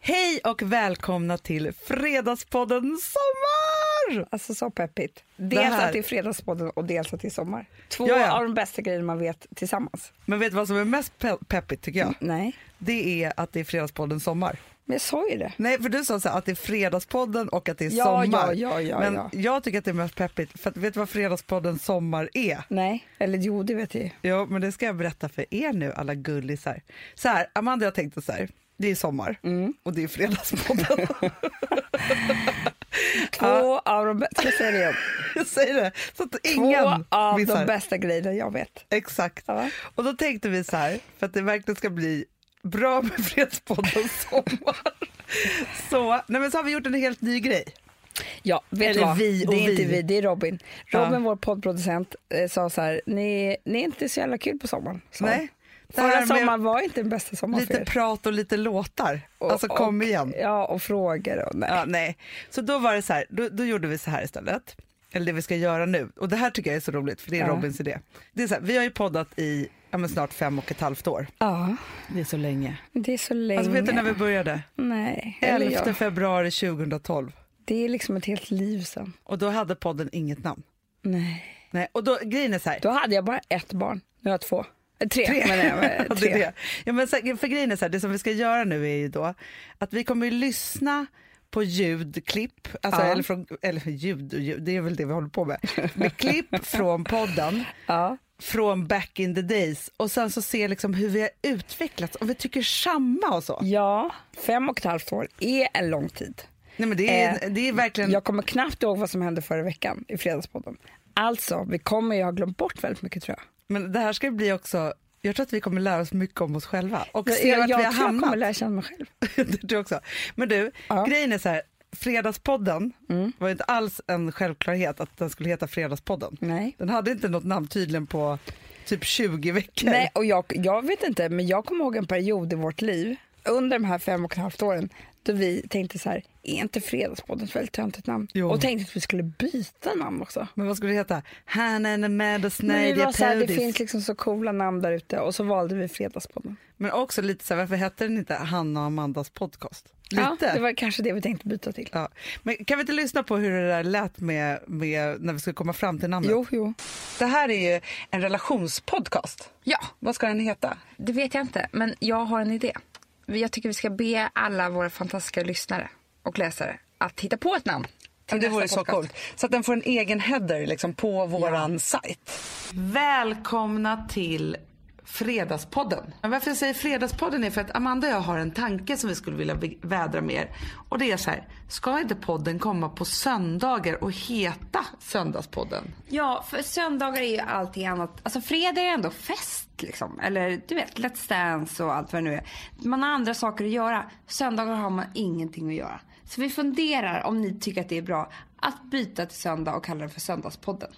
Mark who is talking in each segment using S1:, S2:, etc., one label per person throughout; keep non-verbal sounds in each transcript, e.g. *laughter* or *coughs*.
S1: Hej och välkomna till Fredagspodden Sommar!
S2: Alltså så peppigt.
S1: Det
S2: Dels
S1: här-
S2: att det är Fredagspodden och dels att det är sommar. Två
S1: Ja, ja.
S2: av de bästa grejerna man vet tillsammans.
S1: Men vet du vad som är mest pe- peppigt tycker jag?
S2: Nej,
S1: Det är att det är Fredagspodden Sommar.
S2: men jag sa ju det.
S1: Nej, för du sa så här, att det är Fredagspodden och att det är
S2: Ja,
S1: sommar.
S2: ja, ja, ja,
S1: Men
S2: ja.
S1: jag tycker att det är mest peppigt, för att, vet du vad Fredagspodden Sommar är?
S2: Nej, eller jo det vet jag ju.
S1: Jo, men det ska jag berätta för er nu, alla gullisar. Så här, Amanda jag tänkte så här, det är sommar
S2: Mm.
S1: och det är Fredagspodden. *laughs*
S2: Två av de bästa, ska jag säga det igen?
S1: jag säger det, så att ingen
S2: *laughs* Två av
S1: missar.
S2: de bästa grejerna jag vet.
S1: Exakt.
S2: Ja.
S1: Och då tänkte vi så här, för att det verkligen ska bli bra med Fredagspodden Sommar. Så, nej men så har vi gjort en helt ny grej.
S2: Ja, vet
S1: Eller
S2: du vad?
S1: vi och
S2: det är inte
S1: vi.
S2: vi, det är Robin.
S1: Ja.
S2: Robin, vår poddproducent, eh, sa så här, ni, ni är inte så jävla kul på sommaren. sa han.
S1: Nej, det
S2: Förra
S1: här
S2: sommaren
S1: med
S2: var inte den bästa sommaren för
S1: lite
S2: er.
S1: prat och lite låtar.
S2: Och-
S1: Alltså kom
S2: och,
S1: igen.
S2: Ja, och frågor och nej.
S1: Ja, nej. Så då var det så här, då, då gjorde vi så här istället. Eller det vi ska göra nu. Och det här tycker jag är så roligt för det är
S2: Ja.
S1: Robins idé. Det är så här, vi har ju poddat i ja, men snart fem och ett halvt år.
S2: Ja,
S1: Det är så länge.
S2: det är så länge.
S1: Alltså vet du när vi började?
S2: Nej, eller
S1: 11
S2: jag.
S1: februari 2012.
S2: Det är liksom ett helt liv sen.
S1: Och då hade podden inget namn.
S2: Nej.
S1: Nej, och då, grejen är så här.
S2: Då hade jag bara ett barn. Nu har jag två. Eh, Tre,
S1: Tre. *laughs*
S2: menar jag. Eh,
S1: Ja, det
S2: Tre.
S1: är det. Ja, men så, för grejen är så här, det som vi ska göra nu är ju då att vi kommer ju lyssna på ljudklipp, alltså,
S2: Ja.
S1: eller, från, eller ljud, och ljud, det är väl det vi håller på med, med klipp från podden
S2: Ja.
S1: från back in the days och sen så se liksom hur vi har utvecklats, om vi tycker samma och så.
S2: ja, fem och ett halvt år är en lång tid.
S1: Nej, men det, är,
S2: Eh,
S1: det är verkligen,
S2: Jag kommer knappt ihåg vad som hände förra veckan i Fredagspodden. Alltså, vi kommer ju ha glömt bort väldigt mycket tror jag.
S1: men det här ska bli också, jag tror att vi kommer lära oss mycket om oss själva och
S2: Jag,
S1: se vart
S2: jag,
S1: vi har
S2: jag tror jag
S1: hamnat.
S2: kommer lära känna mig själv.
S1: det tror jag också. Men *laughs* du,
S2: Ja. Mm.
S1: grejen är så här. Fredagspodden var ju inte alls en självklarhet att den skulle heta Fredagspodden.
S2: Nej.
S1: Den hade inte något namn tydligen på typ 20 veckor.
S2: Nej, och jag, jag vet inte, men jag kommer ihåg en period i vårt liv under de här fem och ett halvt åren då vi tänkte så här, är inte Fredagspodden ett väldigt töntigt namn?
S1: Jo.
S2: Och tänkte att vi skulle byta namn också.
S1: Men vad skulle det heta? Hanen är med och
S2: Men vi
S1: snärjer
S2: var så här, det
S1: pudis.
S2: finns liksom så coola namn där ute och så valde vi Fredagspodden.
S1: Men också lite så här, varför hette den inte Hanna och Amandas podcast? Lite.
S2: Ja, det var kanske det vi tänkte byta till.
S1: Ja. Men kan vi inte lyssna på hur det där lät med, med när vi skulle komma fram till namnet?
S2: Jo, jo.
S1: Det här är ju en relationspodcast.
S3: Ja,
S1: Vad ska den heta?
S3: det vet jag inte. Men jag har en idé. Jag tycker vi ska be alla våra fantastiska lyssnare och läsare att hitta på ett namn.
S1: Ja,
S3: till
S1: det
S3: nästa
S1: vore så
S3: podcast.
S1: coolt. Så att den får en egen header liksom, på våran sajt. Välkomna till Fredagspodden. Men Varför jag säger Fredagspodden är för att Amanda och jag har en tanke som vi skulle vilja vä- vädra med er. Och det är så här, ska inte podden komma på söndagar och heta Söndagspodden?
S3: Ja, för söndagar är ju allting annat. Alltså fredag är ändå fest liksom. Eller du vet, Let's Dance och allt vad det nu är. Man har andra saker att göra. Söndagar har man ingenting att göra. Så vi funderar om ni tycker att det är bra att byta till söndag och kalla den för Söndagspodden.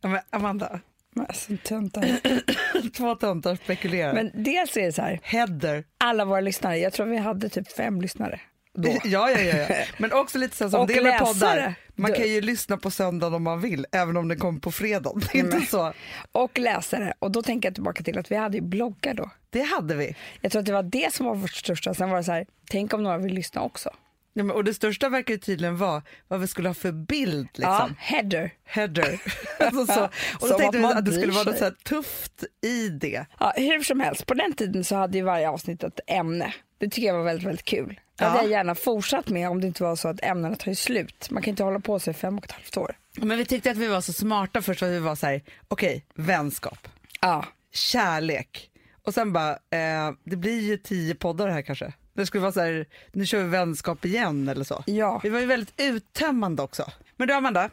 S1: Ja, men Amanda, *coughs*
S2: Men alltså töntar.
S1: två töntar spekulerar.
S2: *clears throat* Men dels är det så här,
S1: header.
S2: alla våra lyssnare, jag tror vi hade typ fem lyssnare då.
S1: Ja, *laughs* ja, ja, ja. Men också lite så här som
S2: Och
S1: det är med poddar.
S2: läsare.
S1: Man
S2: Du-
S1: kan ju lyssna på söndagen om man vill, även om den kommer på fredag. Det är inte så.
S2: *laughs* Och läsare. Och då tänker jag tillbaka till att vi hade ju bloggar då.
S1: Det hade vi.
S2: Jag tror att det var det som var vårt största. Sen var det så här, tänk om några vill lyssna också.
S1: Ja, men, och det största verkar ju tydligen vara vad vi skulle ha för bild. Liksom.
S2: Ja, header. *laughs*
S1: Header. alltså, så. Och
S2: Som
S1: då
S2: att
S1: tänkte vi
S2: man
S1: att det
S2: bryr
S1: skulle vara något
S2: sig.
S1: så här tufft i det.
S2: Ja, hur som helst, på den tiden så hade ju varje avsnitt ett ämne. Det tycker jag var väldigt, väldigt kul. Det hade
S1: Ja.
S2: jag gärna fortsatt med om det inte var så att ämnena tar ju slut. Man kan inte hålla på sig i fem och ett halvt år.
S1: Men vi tyckte att vi var så smarta först att vi var så här, okej, vänskap,
S2: Ja,
S1: kärlek och sen bara, eh, det blir ju tio poddar här kanske. Det skulle vara så här, nu kör vi vänskap igen eller så.
S2: ja.
S1: Vi var ju väldigt uttömmande också. Men du Amanda,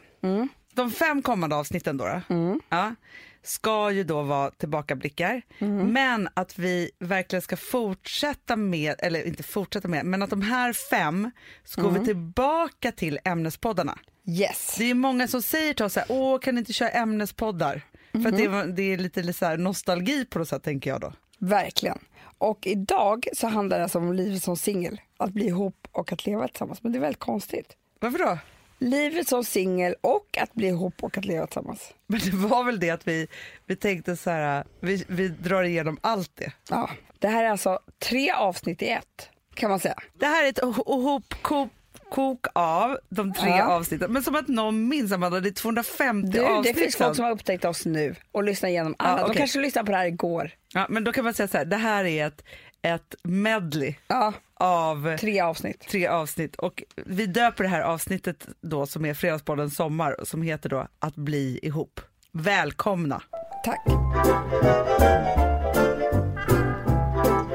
S1: de fem kommande avsnitten då, då ja, ska ju då vara tillbakablickar. Men att vi verkligen ska fortsätta med, eller inte fortsätta med, men att de här fem så går vi tillbaka till ämnespoddarna.
S2: Yes.
S1: Det är många som säger till oss så här, åh kan ni inte köra ämnespoddar? För
S2: Mhm.
S1: att det, var- det är lite, lite så här nostalgi på något sätt tänker jag då.
S2: Verkligen. Och idag så handlar det alltså om livet som singel. Att bli ihop och att leva tillsammans. Men det är väldigt konstigt.
S1: Varför då? *laughs*
S2: Livet som singel och att bli ihop och att leva tillsammans.
S1: Men det var väl det att vi, vi tänkte så här, vi, vi drar igenom allt det.
S2: Ja. Det här är alltså tre avsnitt i ett. kan man säga.
S1: Det här är ett hopkok kok av de tre
S2: Ja.
S1: avsnitten. Men som att någon minns Amanda, det är 250
S2: Du, det
S1: avsnitt
S2: finns
S1: sen.
S2: folk som har upptäckt oss nu och lyssnar igenom alla.
S1: okej.
S2: De kanske lyssnade på det här igår.
S1: ja, Men då kan man säga så här, det här är ett, ett medley
S2: Ja,
S1: av
S2: tre avsnitt.
S1: tre avsnitt och vi döper det här avsnittet då som är Fredagspodden Sommar som heter då Att bli ihop. Välkomna!
S2: Tack.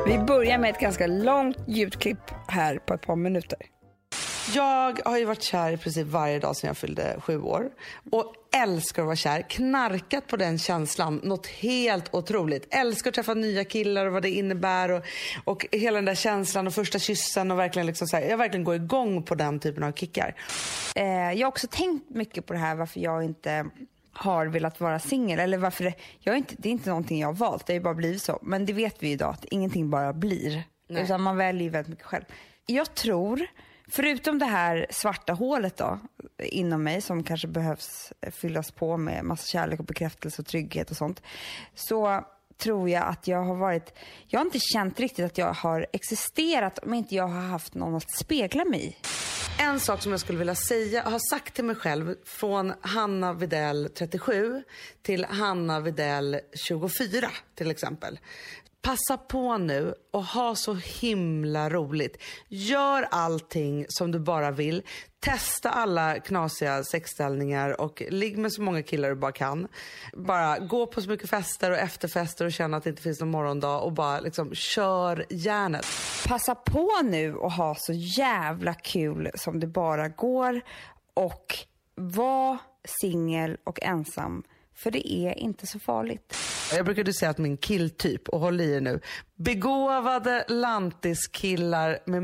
S2: Vi börjar med ett ganska långt ljudklipp här på ett par minuter.
S4: Jag har ju varit kär i princip varje dag sedan jag fyllde sju år. Och älskar att vara kär. Knarkat på den känslan något helt otroligt. Älskar att träffa nya killar och vad det innebär. Och, och hela den där känslan och första kyssen. Och verkligen liksom så här, jag verkligen går igång på den typen av kickar.
S5: Eh, jag har också tänkt mycket på det här varför jag inte har velat vara singel. Eller varför det, jag är inte, det är inte någonting jag har valt, det har ju bara blivit så. Men det vet vi ju idag att ingenting bara blir. Utan man väljer ju väldigt mycket själv. Jag tror, förutom det här svarta hålet då, inom mig som kanske behövs eh, fyllas på med massa kärlek och bekräftelse och trygghet och sånt. Så tror jag att jag har varit, jag har inte känt riktigt att jag har existerat om inte jag har haft någon att spegla mig i.
S4: En sak som jag skulle vilja säga, har sagt till mig själv från Hanna Videll 37 till Hanna Videll 24 till exempel. Passa på nu och ha så himla roligt. Gör allting som du bara vill. Testa alla knasiga sexställningar och ligg med så många killar du bara kan. Bara gå på så mycket fester och efterfester och känna att det inte finns någon morgondag och bara liksom kör järnet.
S5: passa på nu och ha så jävla kul som det bara går och var singel och ensam för det är inte så farligt.
S4: Jag brukade säga att min killtyp, och håll i er nu, begåvade lantiskillar med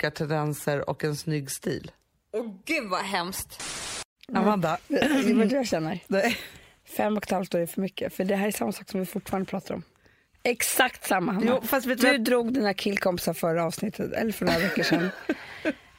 S4: missbrukartendenser och en snygg stil.
S5: Åh gud vad hemskt.
S1: Amanda,
S2: Det är vad jag känner.
S1: Mm. nej.
S2: Fem och ett halvt år är för mycket, för det här är samma sak som vi fortfarande pratar om. Exakt samma Hanna.
S1: Jo, fast vet du
S2: du
S1: vad-
S2: drog dina killkompisar förra avsnittet, eller för några
S1: *laughs*
S2: veckor sedan.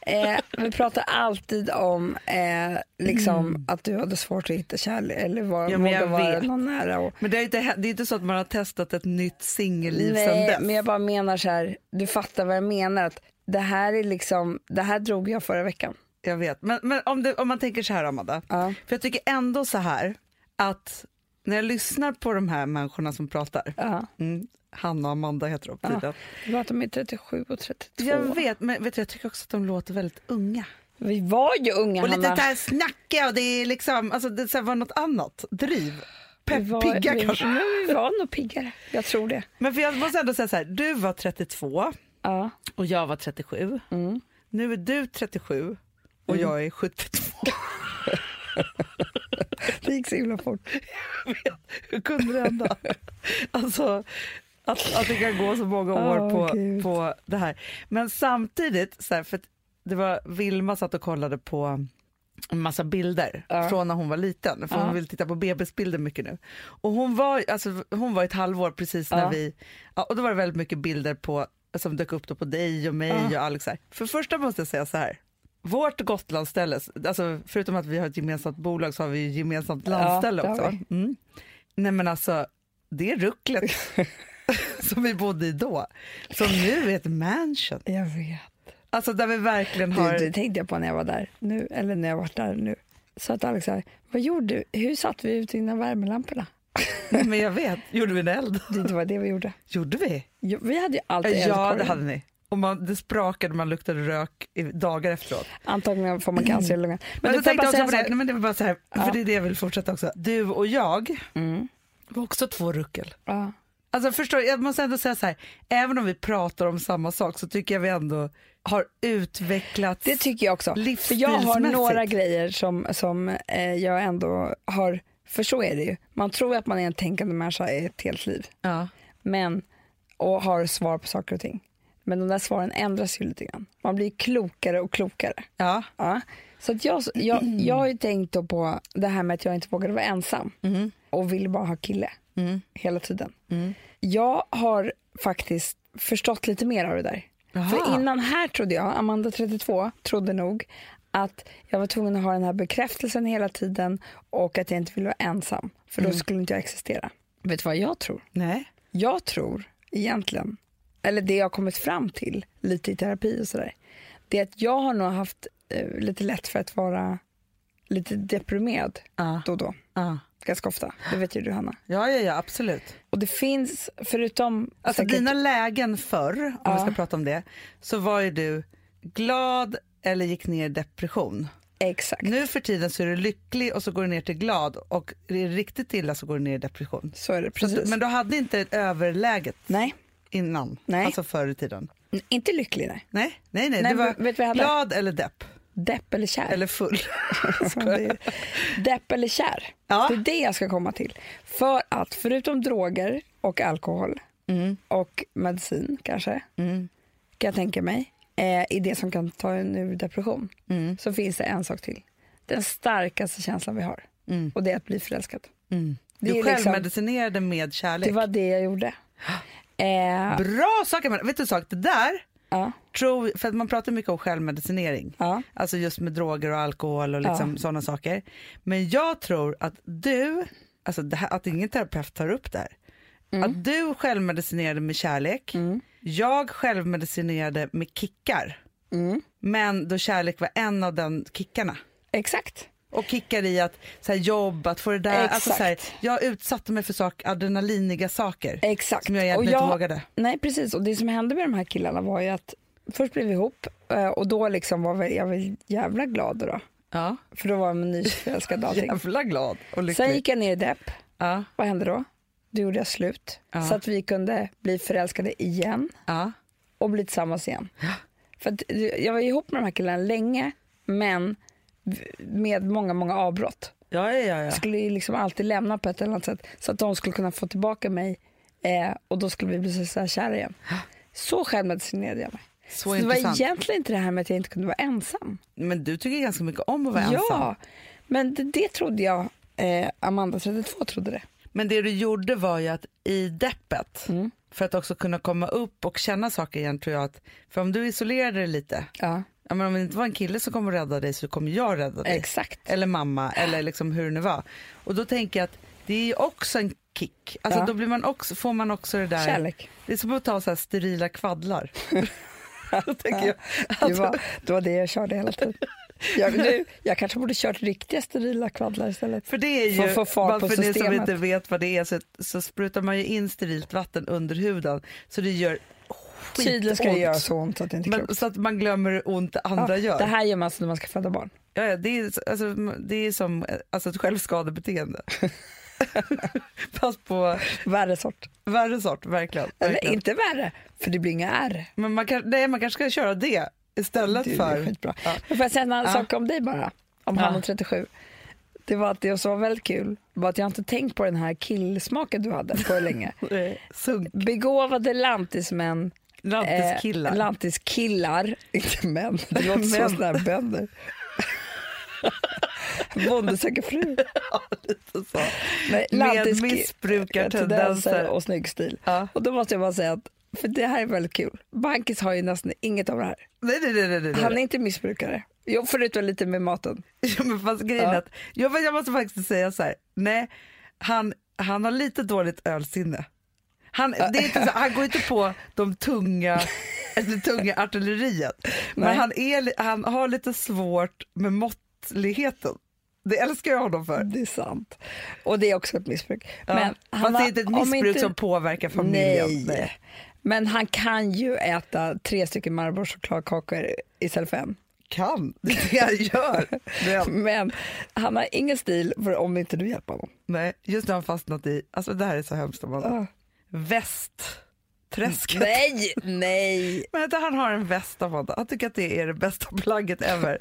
S2: eh, vi pratar alltid om eh, liksom, att du hade svårt att hitta kärlek eller var,
S1: Mm. Ja, men
S2: våga
S1: jag
S2: vara
S1: vet.
S2: någon nära. Och,
S1: men det är, inte, hä- det är inte så att man har testat ett nytt singelliv sedan
S2: Nej,
S1: dess.
S2: men jag bara menar så här, du fattar vad jag menar. Att det här är liksom, det här drog jag förra veckan.
S1: Jag vet, men, men om, det, om man tänker så här Amanda,
S2: Ja.
S1: för jag tycker ändå så här att när jag lyssnar på de här människorna som pratar,
S2: Ja.
S1: mm, Hanna och Amanda heter de tydligen.
S2: Det var att de är 37 och 32.
S1: Jag vet, men vet du, jag tycker också att de låter väldigt unga.
S2: Vi var ju unga
S1: Och lite
S2: Hanna.
S1: så här snackiga och det är liksom, alltså det så här var något annat, driv.
S2: Vi
S1: Pepp,
S2: var-
S1: pigga
S2: vi,
S1: kanske.
S2: Ja, vi var nog piggare, jag tror det.
S1: Men för jag måste ändå säga så här, du var 32
S2: Ja.
S1: och jag var 37. Nu är du 37 och jag är 72.
S2: Det gick så himla fort.
S1: Hur kunde det hända? *laughs* alltså, att, att det kan gå så många år
S2: Åh,
S1: på,
S2: Gud.
S1: på det här. Men samtidigt, så här, för att det var Vilma satt och kollade på en massa bilder från när hon var liten, för hon vill titta på bebisbilder mycket nu. Och hon var, alltså, hon var ett halvår precis när
S2: Ja.
S1: vi, ja, och då var det väldigt mycket bilder på, som dök upp då på dig och mig och Alex. Här. För det första måste jag säga så här, vårt Gotlandsställe, alltså, förutom att vi har ett gemensamt bolag så har vi ju gemensamt landställe
S2: det har
S1: också. Mm. Nej men alltså, det rucklet *laughs* som vi bodde i då, som nu är ett mansion.
S2: Jag vet.
S1: Alltså där vi verkligen har...
S2: Du, det tänkte jag på när jag var där nu, eller när jag varit där nu. Så att Alex här, vad gjorde du? Hur satt vi ut innan värmelamporna?
S1: Nej, men jag vet, gjorde vi en eld?
S2: Det var det vi gjorde.
S1: Gjorde vi?
S2: Jo, Vi hade ju alltid
S1: Ja,
S2: eldkorgen.
S1: det hade ni. Och man, det sprakade, man luktade rök i, dagar efteråt.
S2: Antagligen får man cancer i lungan.
S1: Men,
S2: du
S1: då tänkte jag också på det,
S2: sak.
S1: nej, men det var bara så här, för det är det jag vill fortsätta också. Du och jag
S2: Mm.
S1: var också två ruckel.
S2: Ja.
S1: Alltså förstår, du, jag måste ändå säga så här, även om vi pratar om samma sak så tycker jag vi ändå har utvecklats.
S2: Det tycker jag också. För jag har
S1: Livsstilsmässigt.
S2: några grejer som, som eh, jag ändå har, för så är det ju. Man tror att man är en tänkande människa i ett helt liv.
S1: ja.
S2: Men, och har svar på saker och ting. Men de där svaren ändras ju lite grann. Man blir klokare och klokare.
S1: ja.
S2: Ja. Så att jag, jag, jag har ju tänkt då på det här med att jag inte vågade vara ensam och ville bara ha kille hela tiden. Jag har faktiskt förstått lite mer av det där. För innan här trodde jag, Amanda 32 trodde nog att jag var tvungen att ha den här bekräftelsen hela tiden och att jag inte ville vara ensam för då skulle inte jag existera. Vet du vad jag tror?
S1: Nej.
S2: Jag tror egentligen, eller det jag har kommit fram till lite i terapi och sådär, det är att jag har nog haft eh, lite lätt för att vara lite deprimerad
S1: Ja.
S2: då och då.
S1: Ja.
S2: Ganska ofta, det vet ju du Hanna.
S1: Ja, ja, ja, absolut.
S2: Och det finns, förutom
S1: Alltså
S2: säkert-
S1: dina lägen förr, om vi ska prata om det, så var ju du glad eller gick ner i depression.
S2: Exakt.
S1: Nu för tiden så är du lycklig och så går du ner till glad och är det riktigt illa så går du ner i depression.
S2: Så är det,
S1: Så att
S2: precis.
S1: du, men
S2: men...
S1: du hade inte ett överläget
S2: Nej,
S1: innan,
S2: Nej.
S1: alltså förr i tiden.
S2: n- inte lycklig nej.
S1: Nej, nej, nej.
S2: Nej,
S1: du var
S2: men vet du vad jag hade?
S1: glad eller depp,
S2: Depp eller kär.
S1: eller full. *laughs*
S2: Det är- Depp eller kär.
S1: Ja.
S2: Det är det jag ska komma till. För att förutom droger och alkohol
S1: Mm.
S2: och medicin kanske, kan jag tänka mig, eh, i det som kan ta en ur depression,
S1: Mm.
S2: så finns det en sak till. Den starkaste känslan vi har. Och det är att bli förälskad. Det,
S1: Mm. Du
S2: är liksom,
S1: självmedicinerade med kärlek.
S2: det var det jag
S1: *gasps*
S2: gjorde. Eh,
S1: Bra saker! Men, vet du en sak, det där
S2: ja,
S1: tror, för att man pratar mycket om självmedicinering.
S2: ja,
S1: Alltså just med droger och alkohol och liksom sådana saker. Men jag tror att du, alltså det här, att ingen terapeut tar upp det här.
S2: Mm.
S1: Att du självmedicinerade med kärlek, jag självmedicinerade med kickar.
S2: Mm.
S1: Men då kärlek var en av den kickarna.
S2: exakt.
S1: Och kickar i att så här, jobb, att få det där. Alltså,
S2: Exakt.
S1: så här, jag utsatte mig för sak, adrenaliniga saker.
S2: Exakt.
S1: Som jag egentligen inte vågade.
S2: Nej precis och det som hände med de här killarna var ju att först blev vi ihop eh, och då liksom var väl- jag väl jävla glad då.
S1: Ja.
S2: För då var man nyförälskad och
S1: *laughs*
S2: allting.
S1: Jävla glad och lycklig.
S2: Sen gick jag ner i depp.
S1: Ja,
S2: Vad hände då? Då gjorde jag slut.
S1: Ja.
S2: Så att vi kunde bli förälskade igen
S1: ja.
S2: och bli tillsammans igen. För att, eh, jag var ihop med de här killarna länge men v- med många, många avbrott.
S1: Ja, ja, ja.
S2: Jag skulle ju liksom alltid lämna på ett eller annat sätt så att de skulle kunna få tillbaka mig eh, och då skulle vi bli så, så här kära igen. Så självmedicinerade jag mig.
S1: Så
S2: det var
S1: intressant.
S2: egentligen inte det här med att jag inte kunde vara ensam.
S1: Men du tycker ganska mycket om att vara ensam.
S2: Ja, men det, det trodde jag. Eh, Amanda 32 trodde det.
S1: Men det du gjorde var ju att i deppet,
S2: Mm.
S1: för att också kunna komma upp och känna saker igen tror jag att, för om du isolerade dig lite,
S2: Ja,
S1: ja, men om det inte var en kille som kom och räddade dig så kommer jag rädda dig.
S2: Eh, Exakt.
S1: Eller mamma, eller liksom hur det nu var. Och då tänker jag att det är ju också en kick, alltså
S2: Ja.
S1: då blir man också, får man också det där, *laughs*
S2: kärlek.
S1: det är som att ta så här sterila
S2: *laughs*
S1: kvaddlar. Då tänker jag,
S2: Det var, det var det jag körde hela tiden. Jag, nu, jag kanske borde kört riktiga sterila kvaddlar istället.
S1: För det är ju,
S2: För att få fart
S1: bara
S2: på
S1: för ni som
S2: systemet.
S1: inte vet vad det är så, så sprutar man ju in sterilt vatten under huden så det gör
S2: Tydligen ska det
S1: skitont.
S2: göra så ont att det inte är
S1: Men,
S2: klokt.
S1: så att man glömmer hur ont det andra
S2: Ja,
S1: gör.
S2: Ah, det här gör man alltså när man ska föda barn.
S1: ja, ja, det, är, alltså, det är som eh, alltså, ett
S2: *laughs*
S1: självskadebeteende. Fast på
S2: Värre sort.
S1: värre sort, verkligen.
S2: Eller
S1: verkligen.
S2: inte värre, för det blir inga ärr.
S1: Men man, kan, nej, man kanske ska köra det istället
S2: Det är
S1: för...
S2: skitbra.
S1: Ja.
S2: Men får jag säga en annan
S1: Ja.
S2: sak om dig bara? Om
S1: Ja.
S2: Hanna 37. Det var att det som var väldigt kul var att jag inte tänkt på den här killsmaken du hade
S1: *laughs*
S2: på länge.
S1: Sunk,
S2: Begåvade lantismän.
S1: lantiskillar. *laughs*
S2: Eh, lantiskillar. Inte män. Det *laughs* låter som
S1: Män.
S2: sådana här bönder. *laughs* Bonde söker fru.
S1: så.
S2: Nej,
S1: Med
S2: lantiski-
S1: missbrukartendenser.
S2: och snygg stil.
S1: Ja.
S2: Och då måste jag bara säga att, för det här är väldigt kul. Bankis har ju nästan inget av det här.
S1: Nej, nej, nej. nej, nej, nej.
S2: Han är inte missbrukare. Jo, förutom lite med maten.
S1: Ja, men fast grejen är
S2: Ja.
S1: att, jag, men jag måste faktiskt säga så här, nej, han, han har lite dåligt ölsinne. Han, det är inte så, han går inte på de
S2: *laughs*
S1: tunga, det tunga artilleriet, men
S2: Nej.
S1: han, är, li- han har lite svårt med måttligheten. Det älskar jag honom för.
S2: Det är sant. Och det är också ett missbruk.
S1: Ja.
S2: Men
S1: Fast det
S2: har-
S1: är inte ett
S2: om
S1: missbruk
S2: inte-
S1: som påverkar familjen.
S2: Nej. Men han kan ju äta tre stycken Marabou chokladkakor istället för en.
S1: Kan, *laughs* det är det han gör. Men,
S2: Men han har ingen stil för om inte du
S1: *laughs*
S2: hjälper honom.
S1: nej, just när han fastnat i, alltså det här är så hemskt om honom.
S2: Ja. Mm.
S1: Västträsket.
S2: Nej, nej.
S1: *laughs* Men vänta, han har en väst av Honda. Han tycker att det är det bästa plagget
S2: *laughs*
S1: ever.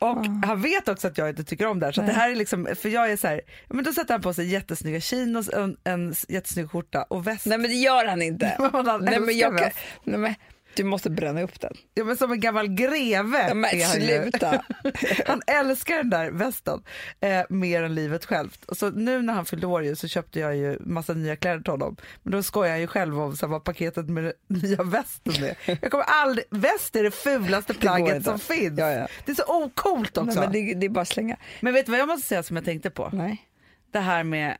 S1: Och
S2: Ah.
S1: han vet också att jag inte tycker om det här. Så att det här är liksom, för jag är så här, ja, men då sätter han på sig jättesnygga chinos, en, en jättesnygg skjorta och väst. *laughs*
S2: Nej men det gör han inte.
S1: Men han
S2: nej, men
S1: älskar
S2: jag kan,
S1: väst.
S2: nej, men, du måste bränna upp den.
S1: Ja, men som en gammal greve.
S2: Ja, men
S1: är han ju.
S2: sluta.
S1: *laughs* han älskar den där västen eh, mer än livet självt. Och Så nu när han fyllde år ju, så köpte jag ju massa nya kläder till honom. Men då skojar jag ju själv om så här, vad paketet med den *laughs* nya västen är. Jag kommer aldrig, väst är det
S2: *laughs*
S1: fulaste plagget
S2: inte.
S1: som finns.
S2: Ja, ja.
S1: Det är så ocoolt
S2: Nej,
S1: också.
S2: men
S1: men,
S2: det, det är bara att slänga.
S1: vet du vad jag måste säga som jag tänkte på?
S2: Nej.
S1: Det här med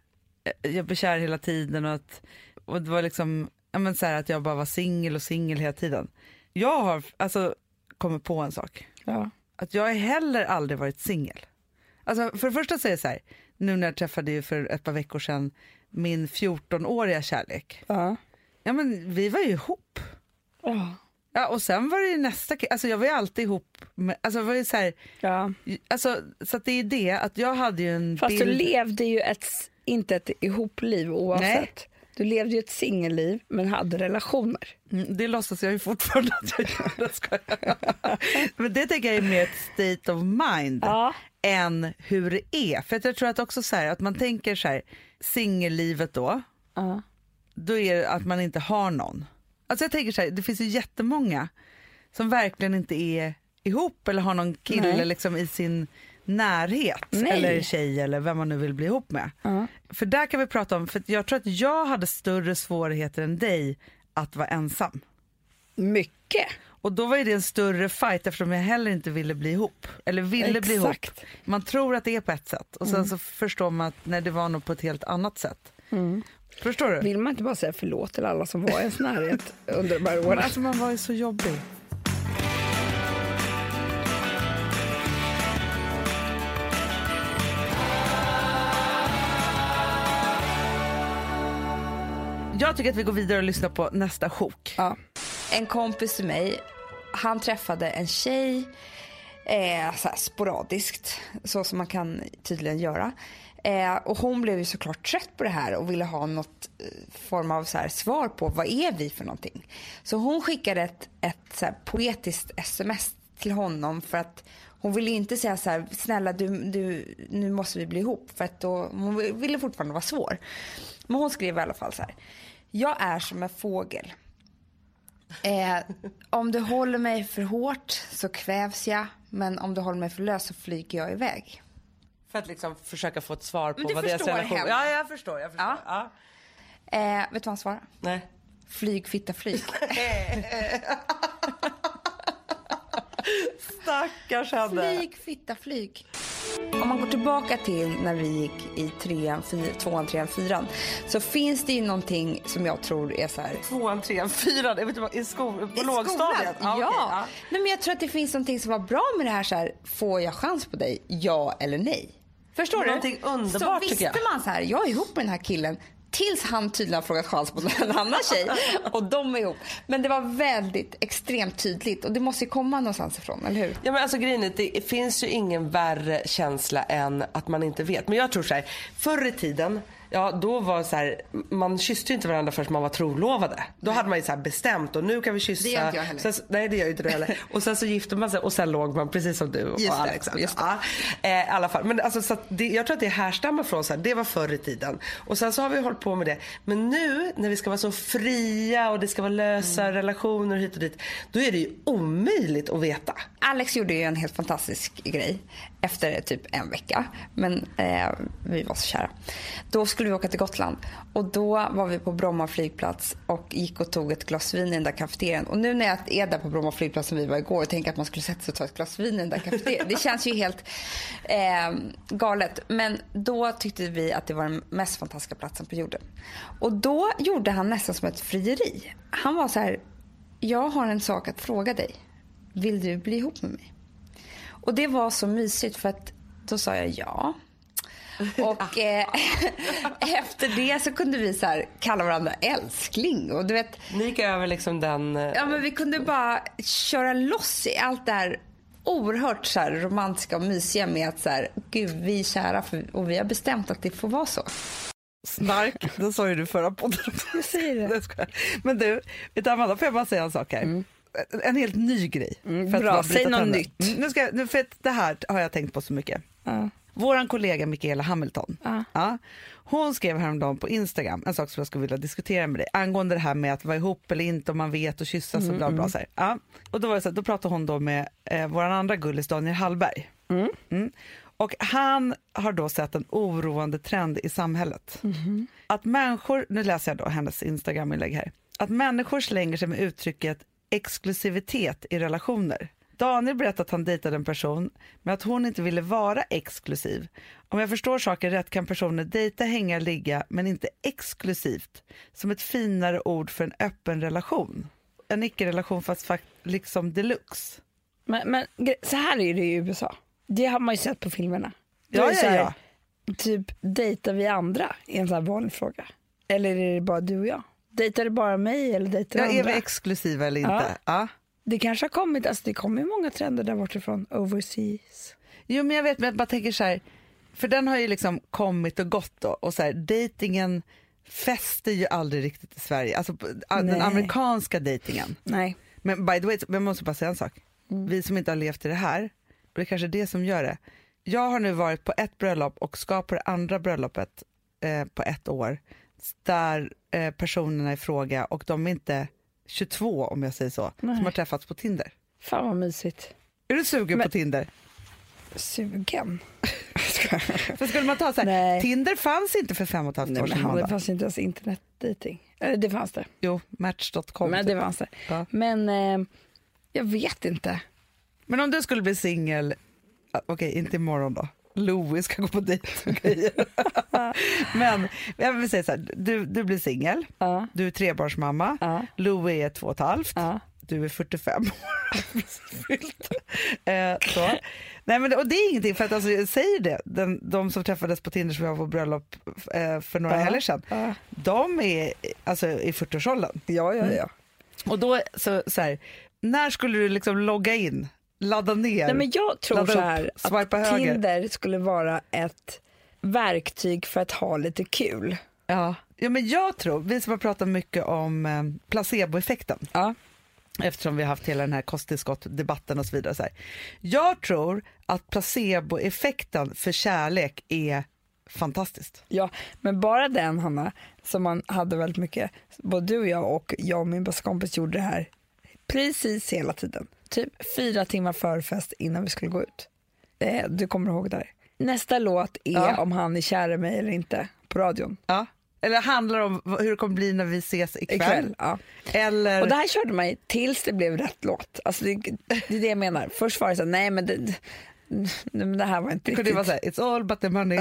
S1: eh, jag blir kär hela tiden och att och det var liksom ja, men så här att jag bara var singel och singel hela tiden. Jag har alltså, kommit på en sak.
S2: Ja.
S1: Att jag har heller aldrig varit singel. Alltså, för det första säger jag så här, nu när jag träffade ju för ett par veckor sedan min 14-åriga kärlek.
S2: Ja.
S1: Ja men vi var ju ihop.
S2: Ja.
S1: Ja, och sen var det ju nästa ki- alltså jag var ju alltid ihop med, alltså det var ju så här,
S2: ja.
S1: alltså, så att det är det att jag hade ju en
S2: Fast
S1: bild.
S2: du levde ju ett, inte ett ihopliv oavsett. Du levde ju ett singelliv men hade relationer.
S1: Mm, Det låtsas jag ju fortfarande att jag gör. Jag skojar. Men det tänker jag är mer ett state of mind
S2: Ja.
S1: än hur det är. För att jag tror att också så här, att man tänker så här, singellivet då,
S2: Ja.
S1: då är det att man inte har någon. Alltså jag tänker så här, det finns ju jättemånga som verkligen inte är ihop eller har någon kille
S2: Nej.
S1: liksom i sin närhet
S2: Nej.
S1: eller tjej eller vem man nu vill bli ihop med.
S2: Ja.
S1: För där kan vi prata om, för jag tror att jag hade större svårigheter än dig att vara ensam.
S2: Mycket.
S1: Och då var ju det en större fight eftersom jag heller inte ville bli ihop. Eller ville bli ihop.
S2: Exakt.
S1: Man tror att det är på ett sätt och sen
S5: Mm.
S1: så förstår man att nej, det var nog på ett helt annat sätt.
S5: Mm.
S1: Förstår du?
S2: Vill man inte bara säga förlåt till alla som var i
S1: *laughs*
S2: ens närhet under de här
S1: Men
S2: åren?
S1: Alltså man var ju så jobbig. Jag tycker att vi går vidare och lyssnar på nästa sjok.
S2: Ja.
S5: En kompis till mig, han träffade en tjej eh, så här sporadiskt, så som man kan tydligen göra. Eh, och hon blev ju såklart trött på det här och ville ha något eh, form av så här svar på vad är vi för någonting. Så hon skickade ett, ett så här poetiskt sms till honom för att hon ville ju inte säga så här, snälla du, du, nu måste vi bli ihop. För att då, hon ville fortfarande vara svår. Men hon skrev i alla fall så här. Jag är som en fågel. Eh, om du håller mig för hårt så kvävs jag. Men om du håller mig för lös så flyger jag iväg.
S1: För att liksom försöka få ett svar på
S5: du
S1: vad deras
S5: förstår
S1: relation...
S5: henne.
S1: Ja, jag förstår. Jag förstår.
S5: Ja.
S1: Ja.
S5: Eh, vet du vad han svarar?
S1: Nej.
S5: Flyg, fitta, flyg.
S1: Stackars henne.
S5: flyg, fitta, flyg. Om man går tillbaka till när vi gick i trean, fyr, tvåan, trean, fyran. Så finns det ju någonting som jag tror är så här.
S1: Tvåan, trean, fyran, jag vet inte vad- i, skol, på
S5: I
S1: lågstadiet.
S5: skolan,
S1: okej,
S5: Ja. Nej, men jag tror att det finns någonting som var bra med det här. Så här får jag chans på dig? Ja eller nej? Förstår
S1: Någonting
S5: du?
S1: underbart,
S5: så
S1: tycker
S5: visste
S1: jag.
S5: man så här, jag är ihop med den här killen. Tills han tydligen har frågat chans på en *laughs* annan tjej och de är ihop. Men det var väldigt extremt tydligt och det måste ju komma någonstans ifrån, eller hur?
S6: Ja men alltså grejen är, att det finns ju ingen värre känsla än att man inte vet. Men jag tror så här, förr i tiden, ja då var så här, man kysste ju inte varandra förrän man var trolovade. Då hade man ju så här bestämt och nu kan vi kyssa.
S5: Det gör inte jag heller.
S6: Sen, så- nej det gör ju inte
S5: *laughs*
S6: du heller. Och sen så gifte man sig och sen låg man precis som du
S5: Just
S6: och
S5: det,
S6: Alex.
S5: just
S6: ja. Eh, I alla fall. Men alltså, så att det, jag tror att det härstammar från så här, det var förr i tiden. Och sen så har vi hållit på med det. Men nu när vi ska vara så fria och det ska vara lösa
S5: Mm.
S6: relationer hit och dit. Då är det ju omöjligt att veta.
S5: Alex gjorde ju en helt fantastisk grej efter typ en vecka. Men eh, vi var så kära. Då skulle vi åka till Gotland och då var vi på Bromma flygplats och gick och tog ett glas vin i den där kafeterian. Och nu när jag är där på Bromma flygplats som vi var igår och tänker att man skulle sätta sig och ta ett glas vin i den där kafeterian. Det känns ju helt eh, galet. Men då tyckte vi att det var den mest fantastiska platsen på jorden. Och då gjorde han nästan som ett frieri. Han var så här, jag har en sak att fråga dig vill du bli ihop med mig? Och det var så mysigt för att då sa jag
S7: *laughs*
S5: ja. Och eh, *laughs* efter det så kunde vi så här kalla varandra älskling. Och du vet,
S6: Ni gick över liksom den... eh,
S5: ja, men vi kunde bara köra loss i allt det här oerhört så här romantiska och mysiga med att så här, gud vi är kära för, och vi har bestämt att det får vara så.
S1: Snark, det sa ju du förra podden.
S2: Jag säger det.
S1: *laughs*
S2: Mm.
S1: Jag skojar. Men du, vet du Amanda, får jag bara säga en sak här? En helt ny grej. att
S2: bra.
S1: bara bryta
S2: Säg något
S1: trenden.
S2: nytt.
S1: Mm, Nu ska, jag- nu, för att det här har jag tänkt på så mycket.
S2: Ja.
S1: Vår kollega Michaela Hamilton,
S2: Ja.
S1: ja, hon skrev häromdagen på Instagram en sak som jag skulle vilja diskutera med dig angående det här med att vara ihop eller inte, om man vet och kyssas och bla bla. Så här. Ja. Och då, var det så här, då pratade hon då med eh, vår andra gullis Daniel Hallberg. Mm. Och han har då sett en oroande trend i samhället. Att människor, nu läser jag då hennes Instagram-inlägg här, att människor slänger sig med uttrycket exklusivitet i relationer. Daniel berättade att han dejtade en person men att hon inte ville vara exklusiv. Om jag förstår saken rätt kan personer dejta, hänga, ligga men inte exklusivt. Som ett finare ord för en öppen relation. En icke-relation fast fakt- liksom deluxe.
S2: Men, men gre- så här är det ju i USA. Det har man ju sett på filmerna. Då
S1: Ja,
S2: är det så
S1: ja,
S2: här,
S1: ja.
S2: Typ, dejtar vi andra? är en sån här vanlig fråga. Eller är det bara du och jag? Dejtar du bara mig eller dejtar du
S1: Ja, är vi
S2: andra?
S1: exklusiva eller inte?
S2: Ja.
S1: Ja.
S2: Det kanske har kommit, alltså det kommer ju många trender där bortifrån, overseas.
S1: Jo men jag vet men jag bara tänker så här, för den har ju liksom kommit och gått då och så här dejtingen fäster ju aldrig riktigt i Sverige, alltså på- a-
S2: Nej.
S1: den amerikanska dejtingen.
S2: Nej.
S1: Men by the way, men jag måste bara säga en sak.
S2: Mm.
S1: Vi som inte har levt i det här, och det är kanske är det som gör det. Jag har nu varit på ett bröllop och ska på det andra bröllopet eh, på ett år där eh, personerna i fråga och de är inte 22 om jag säger så,
S2: Nej.
S1: som har träffats på Tinder.
S2: Fan vad mysigt.
S1: Är du sugen på Tinder?
S2: *laughs* Sugen.
S1: För skulle man ta så här,
S2: Nej.
S1: Tinder fanns inte för fem och ett halvt
S2: Nej,
S1: år
S2: men
S1: sedan.
S2: han, det
S1: Amanda.
S2: fanns ju inte ens internetdejting. Eller det fanns det.
S1: Jo, Match.com.
S2: Men
S1: Men,
S2: det fanns det.
S1: typ. Ja.
S2: Men eh, jag vet inte.
S1: men om du skulle bli singel, ah, okej inte imorgon då, Louis ska gå på dejt och
S2: *laughs*
S1: grejer. Men jag vill säga så här, du, du blir singel,
S2: Ja.
S1: du är trebarnsmamma,
S2: Ja.
S1: Louis är två och ett halvt,
S2: Ja.
S1: du är 45 år. *laughs* precis fyllt. eh, så. Nej, men, det- och det är ingenting, för att, alltså, jag säger det, den, de som träffades på Tinder som jag var på bröllop eh, för några
S2: Ja.
S1: helger sedan,
S2: Ja.
S1: de är alltså, i 40-årsåldern.
S2: Ja, ja, ja.
S1: Och då, så, så här, när skulle du liksom logga in, ladda ner?
S2: Nej, men jag tror
S1: Ladda
S2: så
S1: upp,
S2: här att
S1: swipa höger.
S2: Tinder skulle vara ett verktyg för att ha lite kul.
S1: Ja. Ja, men jag tror, vi som har pratat mycket om eh, placeboeffekten,
S2: Ja.
S1: eftersom vi har haft hela den här kosttillskottdebatten och så vidare. Så här. Jag tror att placeboeffekten för kärlek är fantastiskt.
S2: Ja, men bara den Hanna, som man hade väldigt mycket, både du och jag och jag och min bästa kompis gjorde det här precis hela tiden. Typ fyra timmar förfest innan vi skulle gå ut. Eh, du kommer ihåg det här. Nästa låt är
S1: Ja.
S2: om han är kär i mig eller inte på radion.
S1: Ja. Eller handlar om v- hur det kommer bli när vi ses ikväll.
S2: Ikväll. Ja.
S1: Eller...
S2: Och det här körde man ju tills det blev rätt låt. Alltså det, det är det jag menar. Först var det så här, nej men det, nej, men det här var inte
S1: det kunde ju
S2: riktigt.
S1: vara såhär, it's all but the money.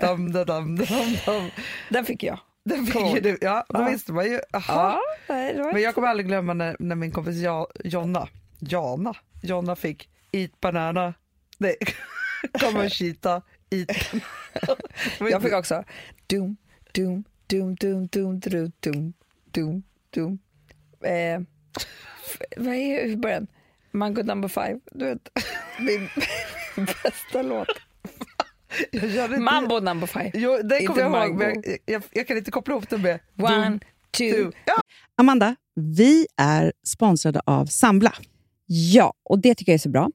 S1: dum, dum, dum, dum,
S2: *laughs*
S1: dum.
S2: Den fick jag.
S1: Den fick
S2: Cool.
S1: ju du. Ja, då
S2: Ja.
S1: visste man ju. Aha.
S2: Ja, nej, det var
S1: Men jag kommer aldrig glömma när, när min kompis ja, Jonna, Jana, Jonna fick eat banana, nej, *laughs* come and cheetah, eat banana.
S2: Jag fick också dum, dum, dum, dum, dum, dum, dum, dum, dum. Eh, f- vad är hur början? Mango number five, du vet. *laughs* Min bästa låt.
S1: jag körde inte-
S2: Mambo number five.
S1: Jo, det
S2: Inte
S1: kommer jag ihåg,
S2: mango.
S1: men jag, jag, jag kan inte koppla ihop det med
S2: One,
S1: du.
S2: two.
S1: Ja.
S8: Amanda, vi är sponsrade av Sambla.
S7: Ja, och det tycker jag är så bra.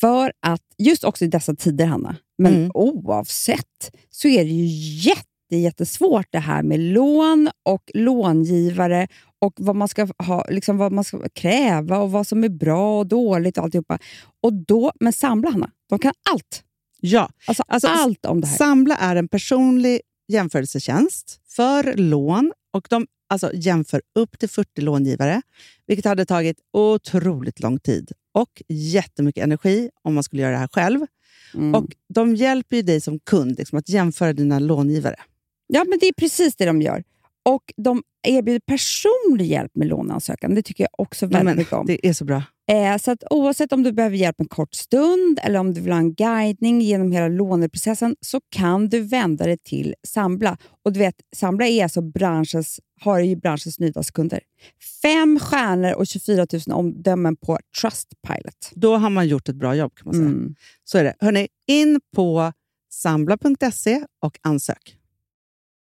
S7: För att, just också i dessa tider, Hanna, men
S1: Mm.
S7: oavsett, så är det ju jätte, jättesvårt det här med lån och långivare och vad man ska ha, liksom vad man ska kräva och vad som är bra och dåligt och alltihopa. Och då, men Sambla, Hanna, de kan allt.
S8: Ja,
S7: Alltså,
S8: Alltså,
S7: allt om det här.
S8: Sambla är en personlig jämförelsetjänst för lån och de alltså, jämför upp till 40 långivare, vilket hade tagit otroligt lång tid och jättemycket energi om man skulle göra det här själv.
S7: Mm.
S8: Och De hjälper ju dig som kund liksom, att jämföra dina långivare.
S7: Ja, men det är precis det de gör. Och de erbjuder personlig hjälp med låneansökan. Det tycker jag också väldigt
S8: Men,
S7: mycket om.
S8: det är så bra.
S7: Eh, så att oavsett om du behöver hjälp en kort stund eller om du vill ha en guidning genom hela låneprocessen så kan du vända dig till Sambla. Och du vet, Sambla är alltså branschens, har ju branschens nyaste kunder. Fem stjärnor och 24 000 omdömen på Trustpilot.
S8: Då har man gjort ett bra jobb kan man säga.
S7: Mm.
S8: Så är det. Hörrni, in på sambla.se och ansök.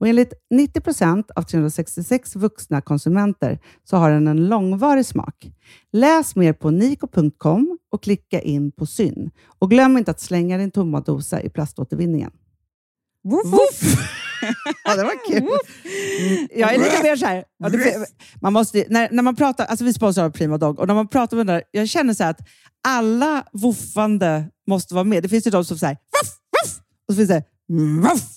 S8: Och enligt 90 procent av 366 vuxna konsumenter så har den en långvarig smak. Läs mer på niko.com och klicka in på syn. Och glöm inte att slänga din tomma dosa i plaståtervinningen.
S7: Woof,
S8: Ja, det var kul. Mm, Jag är lite mer så här. ja, det- Man måste, när, när man pratar, alltså vi sponsrar av Prima Dog och när man pratar med den där, jag känner så här att alla woffande måste vara med. Det finns ju de som säger voff, voff, och så finns det voff.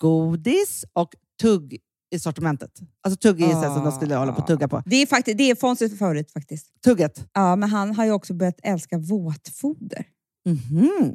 S8: godis och tugg i sortimentet. Alltså tugg är ju så här som de skulle hålla på att tugga på.
S7: Det är, fakti- det är Fonzies favorit faktiskt.
S8: Tugget.
S7: Ja, men han har ju också börjat älska våtfoder.
S8: Mhm.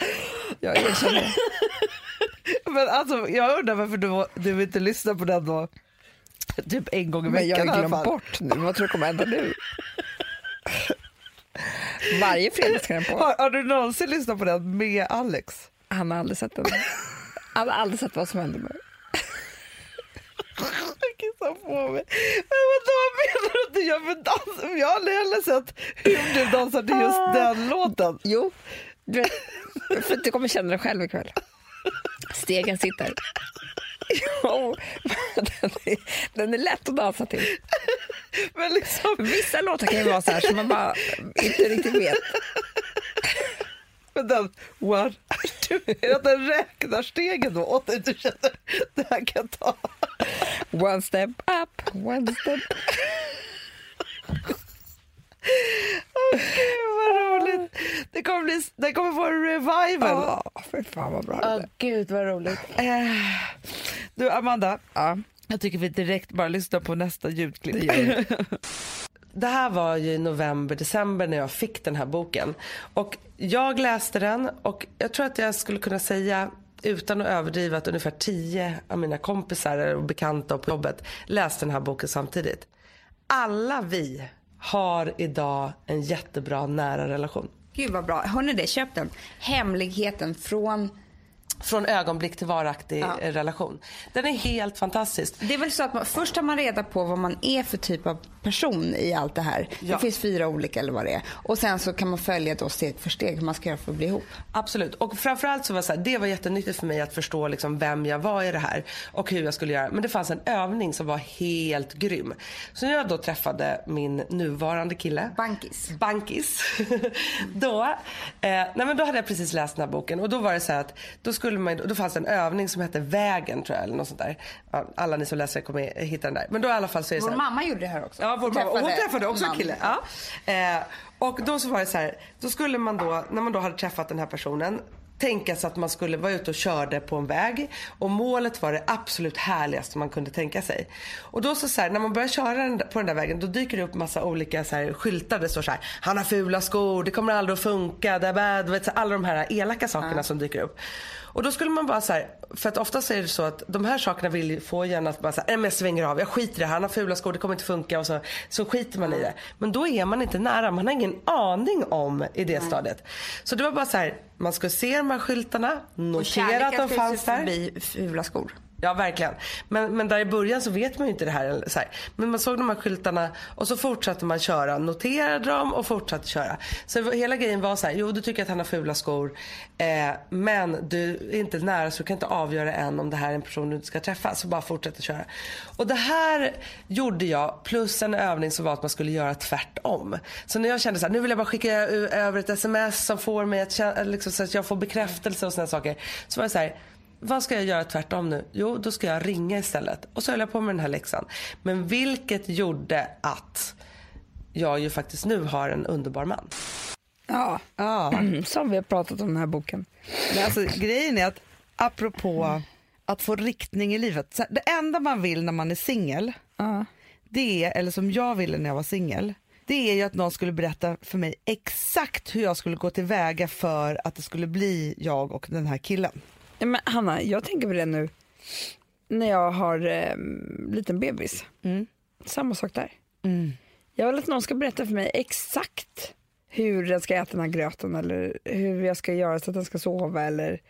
S2: Jag erkänner det.
S1: *laughs* Men alltså, jag undrar varför du, du inte lyssnar på den då. Typ en gång i
S2: Men jag
S1: veckan
S2: har
S1: i
S2: ju
S1: alla
S2: glömt
S1: fall.
S2: bort nu. Vad tror du kommer hända nu? Varje fredag ska den på.
S1: Har, har du någonsin lyssnat på den med Alex?
S2: Han har aldrig sett den. Han har aldrig sett vad som händer med mig.
S1: Jag kissar på mig. Men vadå, vad menar du att du gör för dans? Jag har aldrig heller sett hur du dansar till just
S2: Ah.
S1: den låten.
S2: Jo, du, vet, för du kommer känna det själv ikväll. Stegen sitter. Jo, den är, den är lätt att dansa till.
S1: Men liksom,
S2: Vissa låtar kan ju vara så här som man bara inte riktigt vet.
S1: men den *laughs* one, two, är det att den räknar stegen då åt dig? Du känner, det här kan jag ta.
S2: One step up, one step...
S1: Gud vad roligt. Det kommer, bli, det kommer få en revival.
S2: Ja, fy fan vad bra det
S1: Åh
S2: är.
S1: gud vad roligt. Eh, du Amanda, jag tycker vi direkt bara lyssnar på nästa ljudklipp.
S6: Det här var ju i november, december när jag fick den här boken. Och jag läste den och jag tror att jag skulle kunna säga utan att överdriva att ungefär tio av mina kompisar och bekanta på jobbet läste den här boken samtidigt. Alla vi har idag en jättebra nära relation.
S5: Gud vad bra. Hörrni det, köp den. Hemligheten från...
S6: Från ögonblick till varaktig
S5: Ja.
S6: eh, relation. Den är helt fantastisk.
S5: Det är väl så att man, först tar man reda på vad man är för typ av person i allt det här.
S6: Ja.
S5: Det finns fyra olika eller vad det är. Och sen så kan man följa då steg för steg hur man ska göra för att bli ihop.
S6: Absolut. Och framförallt så var det, så här, det var jättenyttigt för mig att förstå liksom vem jag var i det här och hur jag skulle göra. Men det fanns en övning som var helt grym. Så när jag då träffade min nuvarande kille.
S5: Bankis.
S6: Bankis. *laughs* då Eh, nej men då hade jag precis läst den här boken och då var det så här att då, skulle man, då fanns det en övning som hette Vägen tror jag eller något sånt där. Ja, Alla ni som läser kommer hitta den där. Men då i alla fall så är det så
S5: Vår
S6: här,
S5: mamma gjorde det här också.
S6: Ja, vår mamma. Och hon träffade också en
S5: man.
S6: kille. Ja. Eh, och då så var det så här, då skulle man då, när man då hade träffat den här personen, tänka sig att man skulle vara ute och körde på en väg och målet var det absolut härligaste man kunde tänka sig. Och då så, så här, när man börjar köra den där- på den där vägen då dyker det upp massa olika så här, skyltar. Det står så här, han har fula skor, det kommer aldrig att funka, da, ba, du vet, så här, alla de här elaka sakerna som dyker upp. Och då skulle man bara så här, för att ofta så är det så att de här sakerna vill ju få gärna att bara så här, "Nej, men jag svänger av, jag skiter i det här, han har fula skor, det kommer inte funka och så, så skiter man i det. Men då är man inte nära, man har ingen aning om i det stadiet. Så det var bara så här, man skulle se de här skyltarna, notera att de fanns där.
S5: förbi fula skor.
S6: Ja verkligen. Men, men där i början så vet man ju inte det här. eller Så här. Men man såg de här skyltarna och så fortsatte man köra. Noterade dem och fortsatte köra. Så det var- hela grejen var så här. Jo du tycker att han har fula skor. Eh, men du är inte nära så du kan inte avgöra än om det här är en person du inte ska träffa. Så bara fortsätt att köra. Och det här gjorde jag plus en övning som var att man skulle göra tvärtom. Så när jag kände så här, nu vill jag bara skicka ö- över ett sms som får mig att känna, liksom, så att jag får bekräftelse och sådana saker. Så var det så här. Vad ska jag göra tvärtom nu? Jo, då ska jag ringa istället. Och så höll jag på med den här läxan. Men vilket gjorde att jag ju faktiskt nu har en underbar man.
S2: Ja,
S1: Ja.
S2: *clears throat* som vi har pratat om den här boken.
S1: Men alltså, grejen är att apropå att få riktning i livet. Så här, det enda man vill när man är singel, det är, eller som jag ville när jag var singel, det är ju att någon skulle berätta för mig exakt hur jag skulle gå tillväga för att det skulle *laughs* bli jag och den här killen.
S2: Ja, men Hanna, jag tänker på det nu när jag har eh, liten bebis. Samma sak där. Mm. Jag vill att någon ska berätta för mig exakt hur den ska äta den här gröten eller hur jag ska göra så att den ska sova. Eller...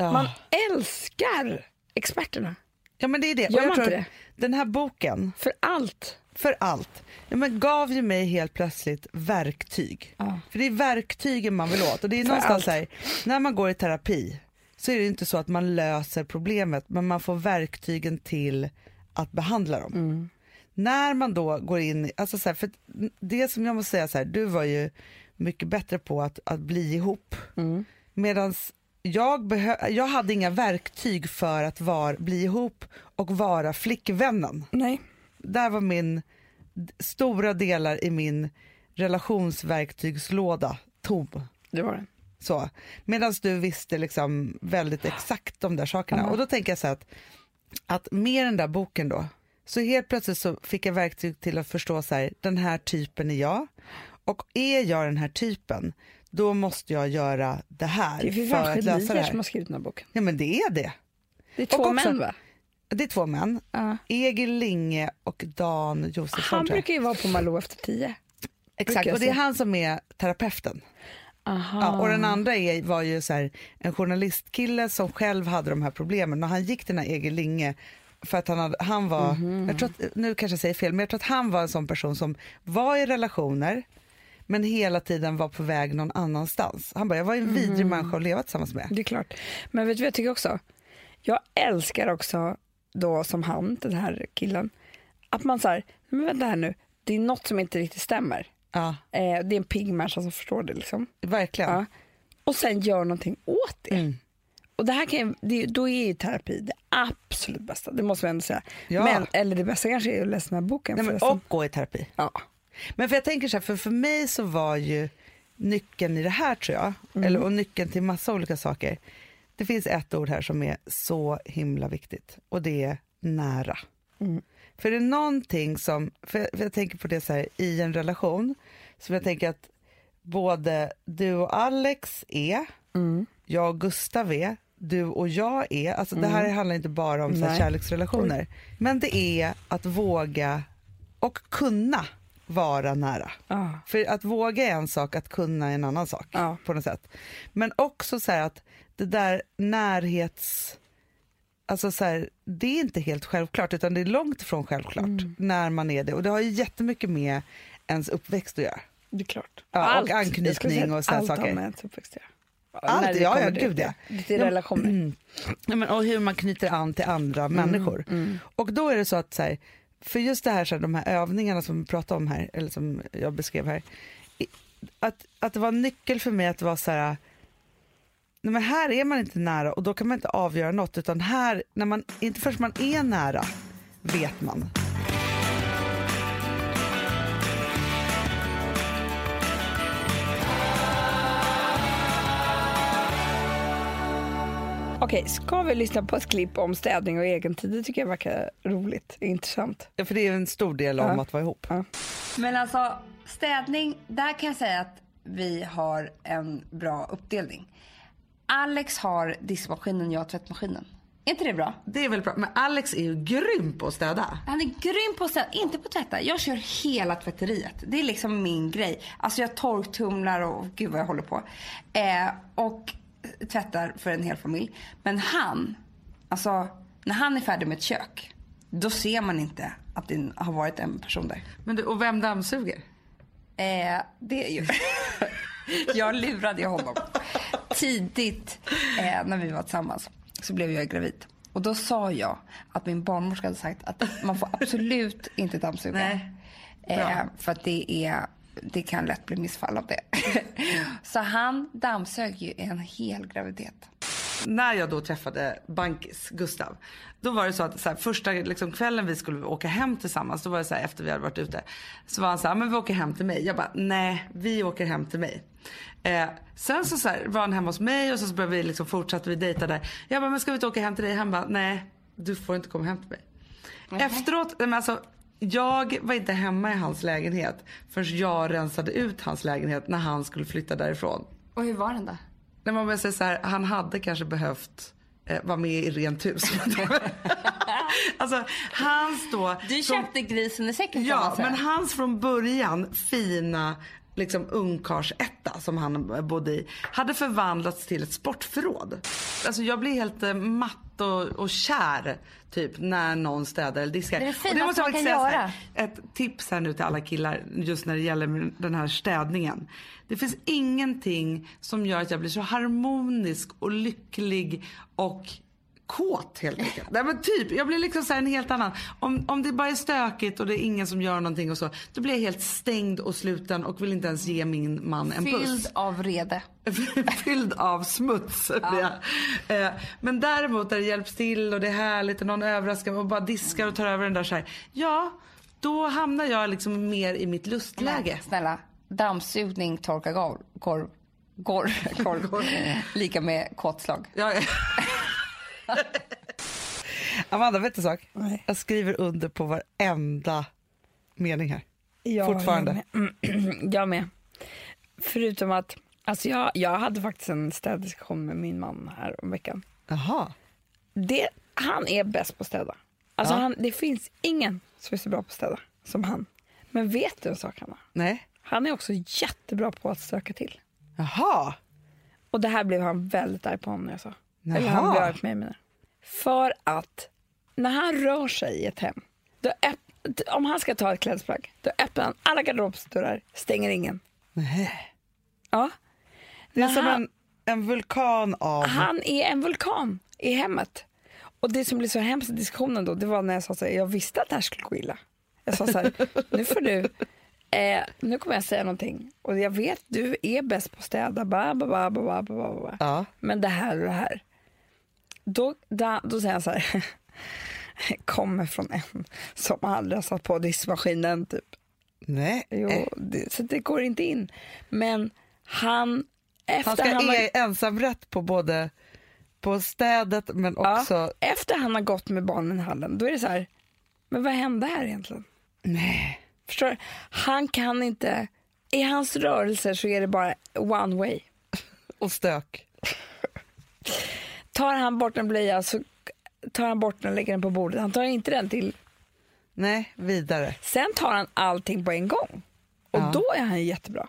S2: Man älskar experterna
S1: Ja men det är det. Och
S2: Gör man
S1: tror
S2: inte
S1: att Den här boken,
S2: för allt.
S1: för allt, ja, men gav ju mig helt plötsligt verktyg. För det är verktygen man vill åt. Och det är någonstans
S2: allt.
S1: så här, när man går i terapi så är det ju inte så att man löser problemet men man får verktygen till att behandla dem. När man då går in, i- alltså så här, för det som jag måste säga så här, du var ju mycket bättre på att, att bli ihop. Medan jag, behö- jag hade inga verktyg för att var, bli ihop och vara flickvännen
S2: Nej.
S1: där var min stora delar i min relationsverktygslåda tom.
S2: Det var det.
S1: Så. Medan du visste liksom väldigt exakt de där sakerna. Och då tänker jag så här att, att med den där boken då, så helt plötsligt så fick jag verktyg till att förstå så här, den här typen är jag. Och är jag den här typen, då måste jag göra det här
S2: Det är för
S1: för
S2: fan
S1: att lösa det
S2: genier som
S1: här.
S2: har skrivit den här boken.
S1: Ja men det är det.
S2: Det är två
S1: också-
S2: män va?
S1: Det är två män,
S2: Ja.
S1: Egil Linge och Dan Josefsson
S2: Han
S1: tror jag.
S2: brukar ju vara på Malou efter tio. brukar
S1: Exakt,
S2: jag
S1: och det är
S2: se.
S1: han som är terapeuten.
S2: Aha.
S1: Ja, och den andra är, var ju så här, en journalistkille som själv hade de här problemen och han gick till den här Egil Linge för att han, hade, han var, jag tror att, nu kanske jag säger fel, men jag tror att han var en sån person som var i relationer men hela tiden var på väg någon annanstans. Han bara, jag var en vidrig människa att leva tillsammans med.
S2: Det är klart. Men vet du vad jag tycker också? Jag älskar också då som han, den här killen, att man säger, men vänta här nu, det är något som inte riktigt stämmer.
S1: Ja,
S2: Eh, det är en pigg människa som förstår det liksom.
S1: verkligen.
S2: Ja. Och sen gör någonting åt det.
S1: Mm.
S2: Och det här kan ju, det, då är ju terapi det absolut bästa, det måste man ändå säga.
S1: Ja.
S2: Men, eller det bästa kanske är att läsa den här boken
S1: Nej, men,
S2: förresten.
S1: och gå i terapi.
S2: ja.
S1: Men för jag tänker så här, för, för mig så var ju nyckeln i det här tror jag, eller, och nyckeln till massa olika saker. Det finns ett ord här som är så himla viktigt och det är nära. För det är någonting som, för jag, för jag tänker på det så här i en relation, som jag tänker att både du och Alex är, jag och Gustav är, du och jag är, alltså det här handlar inte bara om så här
S2: Nej.
S1: kärleksrelationer, men det är att våga och kunna vara nära.
S2: Ja.
S1: För att våga är en sak, att kunna är en annan sak.
S2: Ja.
S1: på något sätt. Men också så här att det där närhets... Alltså så här, det är inte helt självklart, utan det är långt ifrån självklart
S6: Mm.
S1: när man är det. Och det har ju jättemycket med ens uppväxt att göra.
S2: Det är klart.
S1: Ja, och
S2: Jag skulle
S1: anknytning
S2: säga att
S1: och såna
S2: allt
S1: saker.
S2: har med ens uppväxt att göra.
S1: Allt,
S2: När det
S1: ja, ja,
S2: kommer dit,
S1: gud, ja.
S2: det- Till relationer.
S1: Ja, men, och hur man knyter an till andra människor. Och då är det så att, så här, för just det här, så här, de här övningarna som vi pratar om här, eller som jag beskrev här, i-
S6: att, att det var en nyckel för mig att vara så här, nej men här är man inte nära och då kan man inte avgöra något utan här, när man, inte först man är nära, vet man.
S2: Okej, ska vi lyssna på ett klipp om städning och egentid? Det tycker jag verkar roligt, intressant.
S6: Ja, för det är en stor del om att vara ihop.
S5: Men alltså städning, där kan jag säga att vi har en bra uppdelning. Alex har diskmaskinen och jag har tvättmaskinen. Är inte det bra?
S1: Det är väl bra. Men Alex är ju grym på att städa.
S5: Han är grym på att städa, inte på att tvätta. Jag kör hela tvätteriet. Det är liksom min grej. Alltså jag torktumlar och gud vad jag håller på. Eh, och tvättar för en hel familj. Men han, alltså när han är färdig med ett kök, då ser man inte att det har varit en person där.
S1: Men du, och vem dammsuger?
S5: Eh, det är ju... *laughs* jag lurade ju honom. Tidigt eh, när vi var tillsammans så blev jag gravid. Och då sa jag att min barnmorska hade sagt att man får absolut inte dammsuga.
S1: Nej.
S5: Eh, för att det, är, det kan lätt bli missfall av det. *laughs* så han dammsög ju en hel graviditet.
S1: När jag då träffade Bankis, Gustav, då var det så att så här, första liksom, kvällen vi skulle åka hem tillsammans, då var det så här, efter vi hade varit ute, så var han så här, men vi åker hem till mig. Jag bara, nej vi åker hem till mig. Eh, sen så, så här, var han hemma hos mig och så, så började vi liksom, fortsatte vi dejta där. Jag bara, men ska vi inte åka hem till dig? Han bara, nej du får inte komma hem till mig. Efteråt, nej, men alltså jag var inte hemma i hans lägenhet förrän jag rensade ut hans lägenhet när han skulle flytta därifrån.
S5: Och hur var den då?
S1: När man börjar säga så här, han hade kanske behövt eh, vara med i rent
S5: *laughs*
S1: hus. alltså hans då...
S5: Du
S1: från-
S5: köpte grisen i säcken kan man
S1: Ja,
S5: säga.
S1: men hans från början fina liksom ungkarlsetta som han eh, bodde i hade förvandlats till ett sportförråd. Alltså jag blir helt eh, matt och, och kär typ när någon städar eller diskar.
S5: Det är
S1: Och
S5: det finaste
S1: måste jag
S5: man
S1: faktiskt
S5: kan
S1: säga så här, Ett tips här nu till alla killar just när det gäller den här städningen. Det finns ingenting som gör att jag blir så harmonisk och lycklig och kåt helt enkelt. Nej men typ, jag blir liksom så här en helt annan. Om, om det bara är stökigt och det är ingen som gör någonting och så, då blir jag helt stängd och sluten och vill inte ens ge min man en
S5: Fylld
S1: puss.
S5: av rede.
S1: *laughs* Fylld av smuts. Ja. Eh, Men däremot där det hjälps till och det är härligt och någon överraskar och bara diskar och tar över den där så här. Ja, då hamnar jag liksom mer i mitt lustläge.
S5: Snälla, dammsugning, torka gav- korv. *laughs* Korv. korv. Lika med kåtslag.
S1: Ja, *laughs*
S6: Amanda, vet du en sak?
S2: Nej.
S6: Jag skriver under på varenda mening här.
S2: Ja,
S6: Fortfarande.
S2: Jag med. *clears throat* jag med. Förutom att alltså jag, jag hade faktiskt en städdiskussion med min man här om veckan.
S6: Jaha.
S2: Det, han är bäst på att städa. Alltså han, det finns ingen som är så bra på att städa som han. Men vet du en sak, Hanna?
S6: Nej.
S2: Han är också jättebra på att stöka till.
S6: Jaha.
S2: Och det här blev han väldigt arg på honom när jag sa. Eller
S6: Jaha.
S2: han blev arg på mig menar jag. För att när han rör sig i ett hem, då öpp- om han ska ta ett klädesplagg, då öppnar han alla garderobsdörrar, stänger ingen.
S6: Nej.
S2: Ja.
S6: Det är
S2: Men
S6: som
S2: han-
S6: en, en vulkan av...
S2: Han är en vulkan i hemmet. Och det som blev så hemskt i diskussionen då, det var när jag sa så här, jag visste att det här skulle gå illa. Jag sa så här, nu får du, eh, nu kommer jag säga någonting. Och jag vet, du är bäst på att städa, ba, ba, ba, ba, ba, ba, ba, ba.
S6: Ja.
S2: men det här och det här. Då, då, då säger han så här, *laughs* kommer från en som aldrig har satt på diskmaskinen typ.
S6: Nej.
S2: Jo, det, så det går inte in. Men han, efter
S6: Han ska e-
S2: han var-
S6: ha ensamrätt på både på städet men
S2: Ja,
S6: också...
S2: Efter han har gått med barnen i hallen, då är det så här, men vad hände här egentligen?
S6: Nej.
S2: Förstår du? Han kan inte, i hans rörelser så är det bara one way.
S6: Och stök.
S2: Tar han bort en blöja så tar han bort den och lägger den på bordet. Han tar inte den till,
S6: Nej, vidare.
S2: sen tar han allting på en gång. Och
S6: Ja.
S2: då är han jättebra.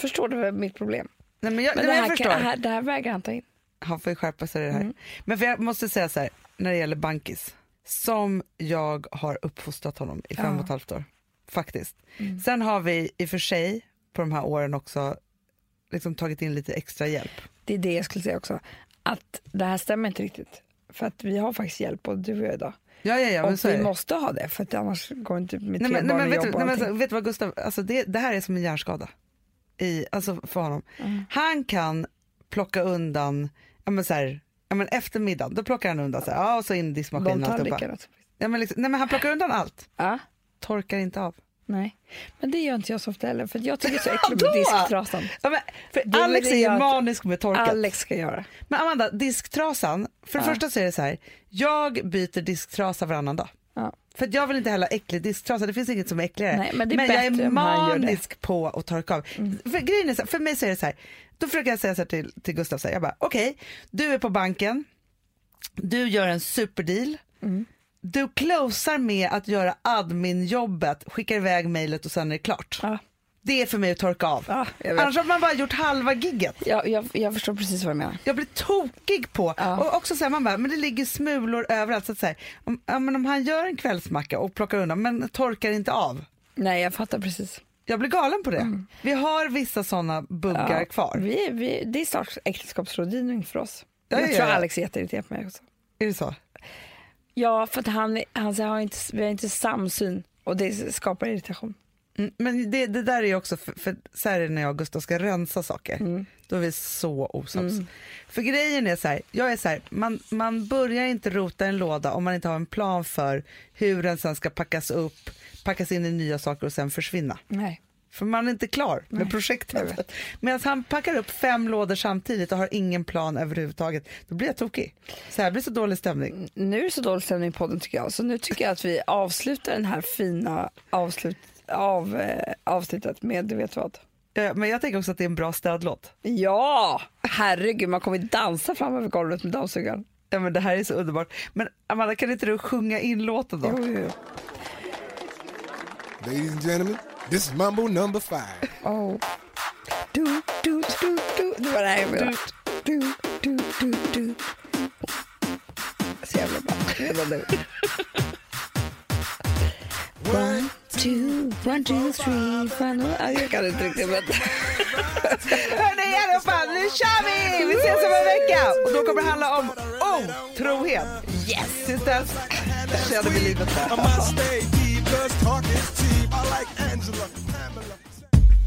S2: Förstår du vad mitt problem?
S6: Nej, men jag,
S2: Men det,
S6: nej, men jag
S2: här
S6: förstår.
S2: kan, det här, det här vägrar han ta in.
S6: Han får ju skärpa sig i det här. Men för jag måste säga så här, när det gäller Bankis, som jag har uppfostrat honom i fem och ett halvt år. Faktiskt. Sen har vi i och för sig på de här åren också liksom tagit in lite extra hjälp.
S2: Det är det jag skulle säga också. Att det här stämmer inte riktigt. För att vi har faktiskt hjälp, både du och jag idag.
S6: Ja, ja, ja, men
S2: och
S6: så är
S2: vi
S6: det.
S2: måste ha det för att annars går inte mitt
S6: Nej, men,
S2: barn
S6: nej, men,
S2: och
S6: vet,
S2: jobb
S6: du,
S2: och
S6: nej, men,
S2: allting.
S6: alltså, vet du vad Gustav, alltså det, det här är som en hjärnskada.
S1: i, alltså för honom.
S2: Mm.
S1: Han kan plocka undan, ja men så här, ja men efter middagen, då plockar han undan så här, ja och så in i diskmaskinen.
S2: De
S1: och alltihopa.
S2: tallrikarna. som-
S1: Ja, men liksom, nej men han plockar undan allt,
S2: Ja,
S1: torkar inte av.
S2: nej. Men det gör inte jag så ofta heller, för jag
S6: *laughs*
S2: tycker det är så äckligt med disktrasan.
S1: Ja, men, för
S2: Det är
S1: Alex
S2: väl
S1: är
S2: det
S1: ju
S2: jag-
S1: manisk med torkat.
S2: Alex ska göra.
S1: Men Amanda, disktrasan. För det första så är det så här, jag byter disktrasa varannan dag.
S2: Ja.
S1: För att jag vill inte heller ha äcklig disktrasa, det finns inget som är
S6: Eh,
S1: äckligare.
S2: Nej, men det är
S1: jag
S2: bättre
S1: är
S2: om han gör det. Mm.
S1: manisk på att torka av. För, grejen är så, här, för mig så är det så här, då försöker jag säga så här till, till Gustav, så här, jag bara okej, du är på banken, du gör en superdeal,
S2: Mm.
S1: du closar med att göra adminjobbet, skickar iväg mejlet och sen är det klart.
S2: Ja.
S1: Det är för mig att torka av.
S2: Ja, Ah, jag vet.
S1: Annars har man bara gjort halva gigget.
S2: Jag, jag, jag förstår precis vad du menar.
S1: Jag blir tokig på.
S2: Ja.
S1: Och också så här, man bara, men det ligger smulor överallt. Så att så här, om, ja, men om han gör en kvällsmacka och plockar undan men torkar inte av.
S2: Nej, jag fattar precis.
S1: Jag blir galen på det.
S2: Mm.
S1: Vi har vissa sådana buggar kvar.
S2: Vi, vi, det är snart äktenskapsrådgivning för oss.
S1: Ja,
S2: jag
S1: ja,
S2: tror
S1: ja.
S2: Alex är jätteirriterad på mig också.
S1: Är det så?
S2: Ja, för att han, han säger, har inte, vi har inte samsyn och det skapar irritation.
S1: Mm, men det, det där är ju också, för, för så här är det när jag och Gustav ska rensa saker. Då är vi så osams. För grejen är så här, jag är så här, man, man börjar inte rota i en låda om man inte har en plan för hur den sen ska packas upp, packas in i nya saker och sen försvinna.
S2: Nej.
S1: För man är inte klar med projektet. Medan han packar upp fem lådor samtidigt och har ingen plan överhuvudtaget. Då blir jag tokig. Så här blir så dålig stämning.
S2: Nu är det så dålig stämning i podden tycker jag, så nu tycker jag att vi avslutar den här fina avslut, av, eh, avslutet med du vet vad.
S1: Eh, Men jag tänker också att det är en bra stödlåt.
S2: Ja, herregud man kommer dansa fram över golvet med dammsugaren.
S1: Ja, men det här är så underbart. Men Amanda, kan inte du sjunga in låten då?
S2: Jo, jo, jo.
S9: Ladies and gentlemen, this is Mambo number five.
S2: Oh. Du, du, du, du. Det var det här jag menade. Du, du, du, du. Så jävla bra. Redan nu. One, two, one, two, three, one, one. Ah, Jag kan inte riktigt men...
S1: Hörni allihopa, nu kör vi! Vi ses om en vecka! Och då kommer det handla om otrohet. Yes! Tills dess, känner vi livet här.
S9: stay deep, cause talk is cheap. I like Angela, Pamela.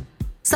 S10: Så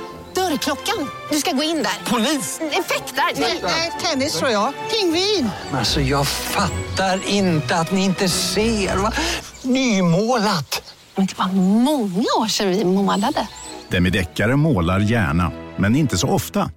S10: Dörrklockan. Du ska gå in där. Mm, Polis? Effektar? Nej, tennis tror jag. Pingvin.
S11: Alltså jag fattar inte att ni inte ser. Va? Nymålat!
S10: Men det var många år sedan vi målade.
S12: Demideckare målar gärna, men inte så ofta.